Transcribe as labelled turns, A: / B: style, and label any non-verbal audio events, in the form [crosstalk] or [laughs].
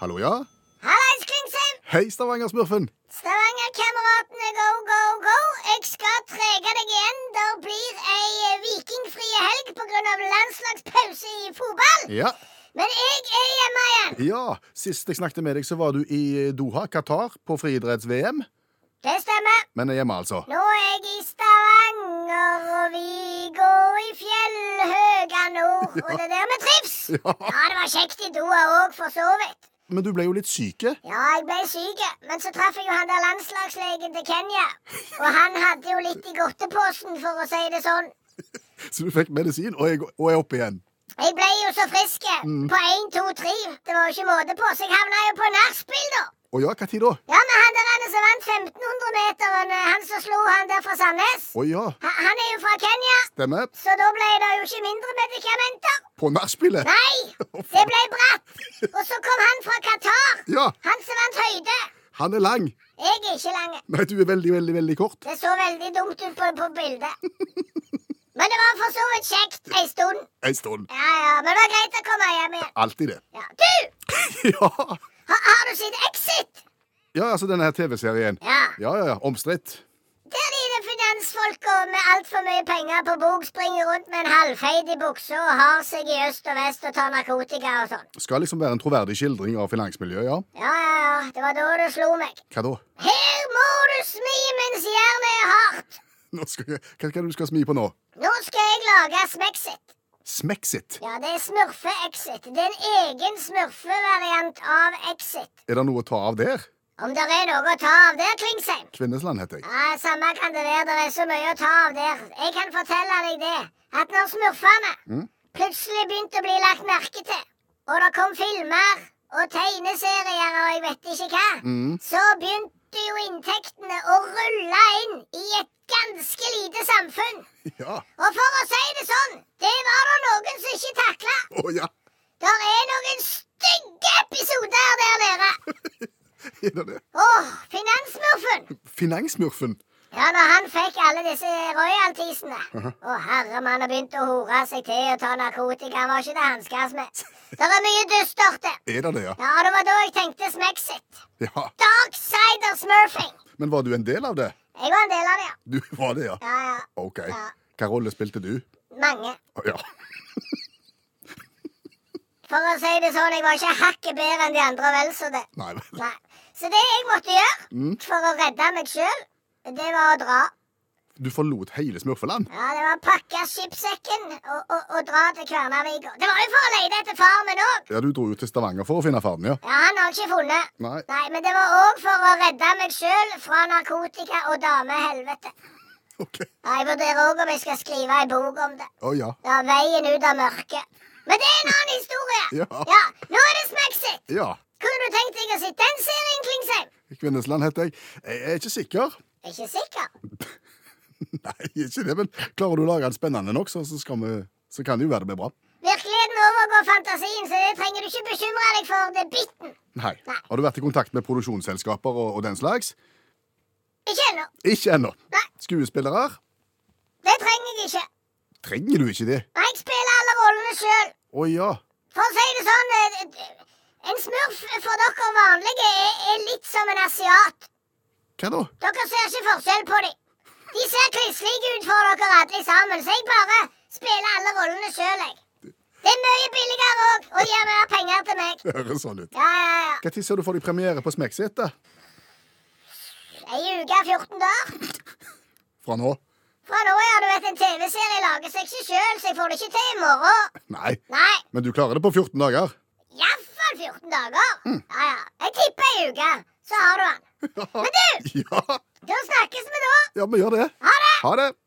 A: Hallo, ja?
B: Hallais, Klingsheim!
A: Hei, Stavanger-smurfen.
B: Stavanger-kameratene, go, go, go! Jeg skal trege deg igjen. Det blir ei eh, vikingfrie helg pga. landslagspause i fotball.
A: Ja.
B: Men jeg er hjemme igjen.
A: ja. Sist jeg snakket med deg, så var du i Doha, Qatar, på friidretts-VM.
B: Det stemmer.
A: Men er hjemme, altså. [laughs]
B: Nå er jeg i Stavanger, og vi går i fjellhøga nord. Og det er der vi trives.
A: Ja.
B: Ja, det var kjekt i Doha òg, for så vidt.
A: Men du ble jo litt syke.
B: Ja, jeg ble syk, men så traff jeg jo han der landslagslegen til Kenya. Og han hadde jo litt i godteposen, for å si det sånn.
A: Så du fikk medisin, og jeg, og jeg er oppe igjen.
B: Jeg ble jo så frisk på én, to, tre. Det var jo ikke måte på, så jeg havna jo på nachspiel, da.
A: Å ja, hva tid da?
B: Ja, men han der han som vant 1500-meteren, eh, han som slo han der fra Sandnes,
A: Å ja.
B: ha- han er jo fra Kenya,
A: Stemmer.
B: så da ble det jo ikke mindre medikamenter.
A: På nachspielet.
B: Nei! Det ble bratt. Og så kom han fra Qatar,
A: Ja.
B: han som vant høyde.
A: Han er lang.
B: Jeg er ikke lang.
A: Nei, du er veldig, veldig, veldig kort.
B: Det så veldig dumt ut på, på bildet. Men det var for så vidt kjekt ei stund.
A: Ei stund.
B: Ja, ja, Men det var greit å komme hjem igjen.
A: Alltid det. [laughs]
B: Ja. Du!
A: Ja.
B: Har, har du sett Exit?
A: Ja, altså denne her TV-serien.
B: Ja.
A: Ja, ja, ja. Omstridt.
B: Der de finansfolka med altfor mye penger på bok springer rundt med en halvfeit i buksa og har seg i øst og vest og tar narkotika og sånn.
A: Skal liksom være en troverdig skildring av finansmiljøet, ja.
B: Ja, ja, ja. Det var da det slo meg.
A: Hva da?
B: Her må du smi mens jernet er hardt.
A: Nå skal jeg, hva er det du skal smi på nå?
B: Nå skal jeg lage Smexit.
A: Smexit.
B: Ja, det er Smurfe-Exit. Det er en egen smurfevariant av Exit.
A: Er det noe å ta av der?
B: Om det er noe å ta av der, Klingsheim?
A: Kvinnesland heter jeg.
B: Ja, Samme kan det være. Det er så mye å ta av der. Jeg kan fortelle deg det. At når smurfene plutselig begynte å bli lagt merke til, og det kom filmer og tegneserier og jeg vet ikke hva,
A: Mm.
B: så begynte jo inntektene å rulle inn i et ganske lite samfunn.
A: [laughs] Ja.
B: Og for å si det sånn, det var det noen som ikke takla.
A: Å ja. [laughs]
B: Der er noen stygge episoder der nede.
A: Er det det?
B: Åh, finansmurfen.
A: Finansmurfen.
B: Ja, når han fikk alle disse royaltiesene. Å, herre mann, og begynte å hore seg til og ta narkotika. Han var ikke det hanskes med. Det er mye dysterte.
A: Er det det, ja?
B: Ja, og det var da jeg tenkte Smexit.
A: Ja.
B: Darksider smurfing.
A: Men var du en del av det?
B: Jeg var en del av det, ja.
A: Du var det, ja.
B: Ja, ja.
A: OK.
B: Ja.
A: Hva rolle spilte du?
B: Mange.
A: Å, Ja. [laughs]
B: For å si det sånn, jeg var ikke hakket bedre enn de andre, og vel så det.
A: Nei vel.
B: Nei. Så det jeg måtte gjøre for å redde meg sjøl, det var å dra.
A: Du forlot hele Smurfeland?
B: Ja, det var å pakke skipssekken og, og, og dra til Kværnervika. Det var jo for å lete etter far min òg.
A: Ja, du dro jo til Stavanger for å finne faren, ja.
B: Ja, han har jeg ikke funnet.
A: Nei. [laughs]
B: Men det var òg for å redde meg sjøl fra narkotika og damehelvete.
A: OK.
B: Ja, jeg vurderer òg om jeg skal skrive ei bok om det.
A: Å ja.
B: Ja, Veien ut av mørket. Men det er en annen historie.
A: Ja.
B: Nå er det Smexit.
A: Ja.
B: Kunne du tenkt deg å sitte den serien, Klingsheim?
A: Kvinnesland heter jeg. Jeg er ikke sikker.
B: Ikke sikker.
A: Nei, ikke det, men klarer du å lage den spennende nok, så, så, skal vi, så kan det jo være det blir bra.
B: Virkeligheten overgår fantasien, så det trenger du ikke bekymre deg for. Det er bitten.
A: Nei.
B: Nei.
A: Har du vært i kontakt med produksjonsselskaper og, og den slags?
B: Ikke ennå.
A: Ikke ennå.
B: Nei.
A: Skuespillere?
B: Det trenger jeg ikke.
A: Trenger du ikke det?
B: Nei, jeg spiller alle rollene sjøl.
A: Å ja.
B: For å si det sånn eh, eh, En smurf for dere vanlige er, er litt som en asiat.
A: Hva da?
B: Dere ser ikke forskjell på dem. De ser klisslige ut for dere alle sammen, så jeg bare spiller alle rollene sjøl, jeg. Det er mye billigere òg, og de har mer penger til meg.
A: Det høres sånn ut.
B: Ja, ja, ja.
A: Når ser du for deg premiere på Smekksett? da?
B: Ei uke er 14 dager.
A: Fra nå?
B: Fra nå av, ja, du vet, en TV-serie lager seg ikke sjøl, så jeg får det ikke til i morgen.
A: Nei.
B: Nei,
A: Men du klarer det på 14 dager?
B: iallfall 14 dager. Ja, ja. Jeg tipper ei uke, så har du den. Men du!
A: Ja,
B: Da snakkes vi nå.
A: ja vi gjør det.
B: Ha det!
A: Ha det.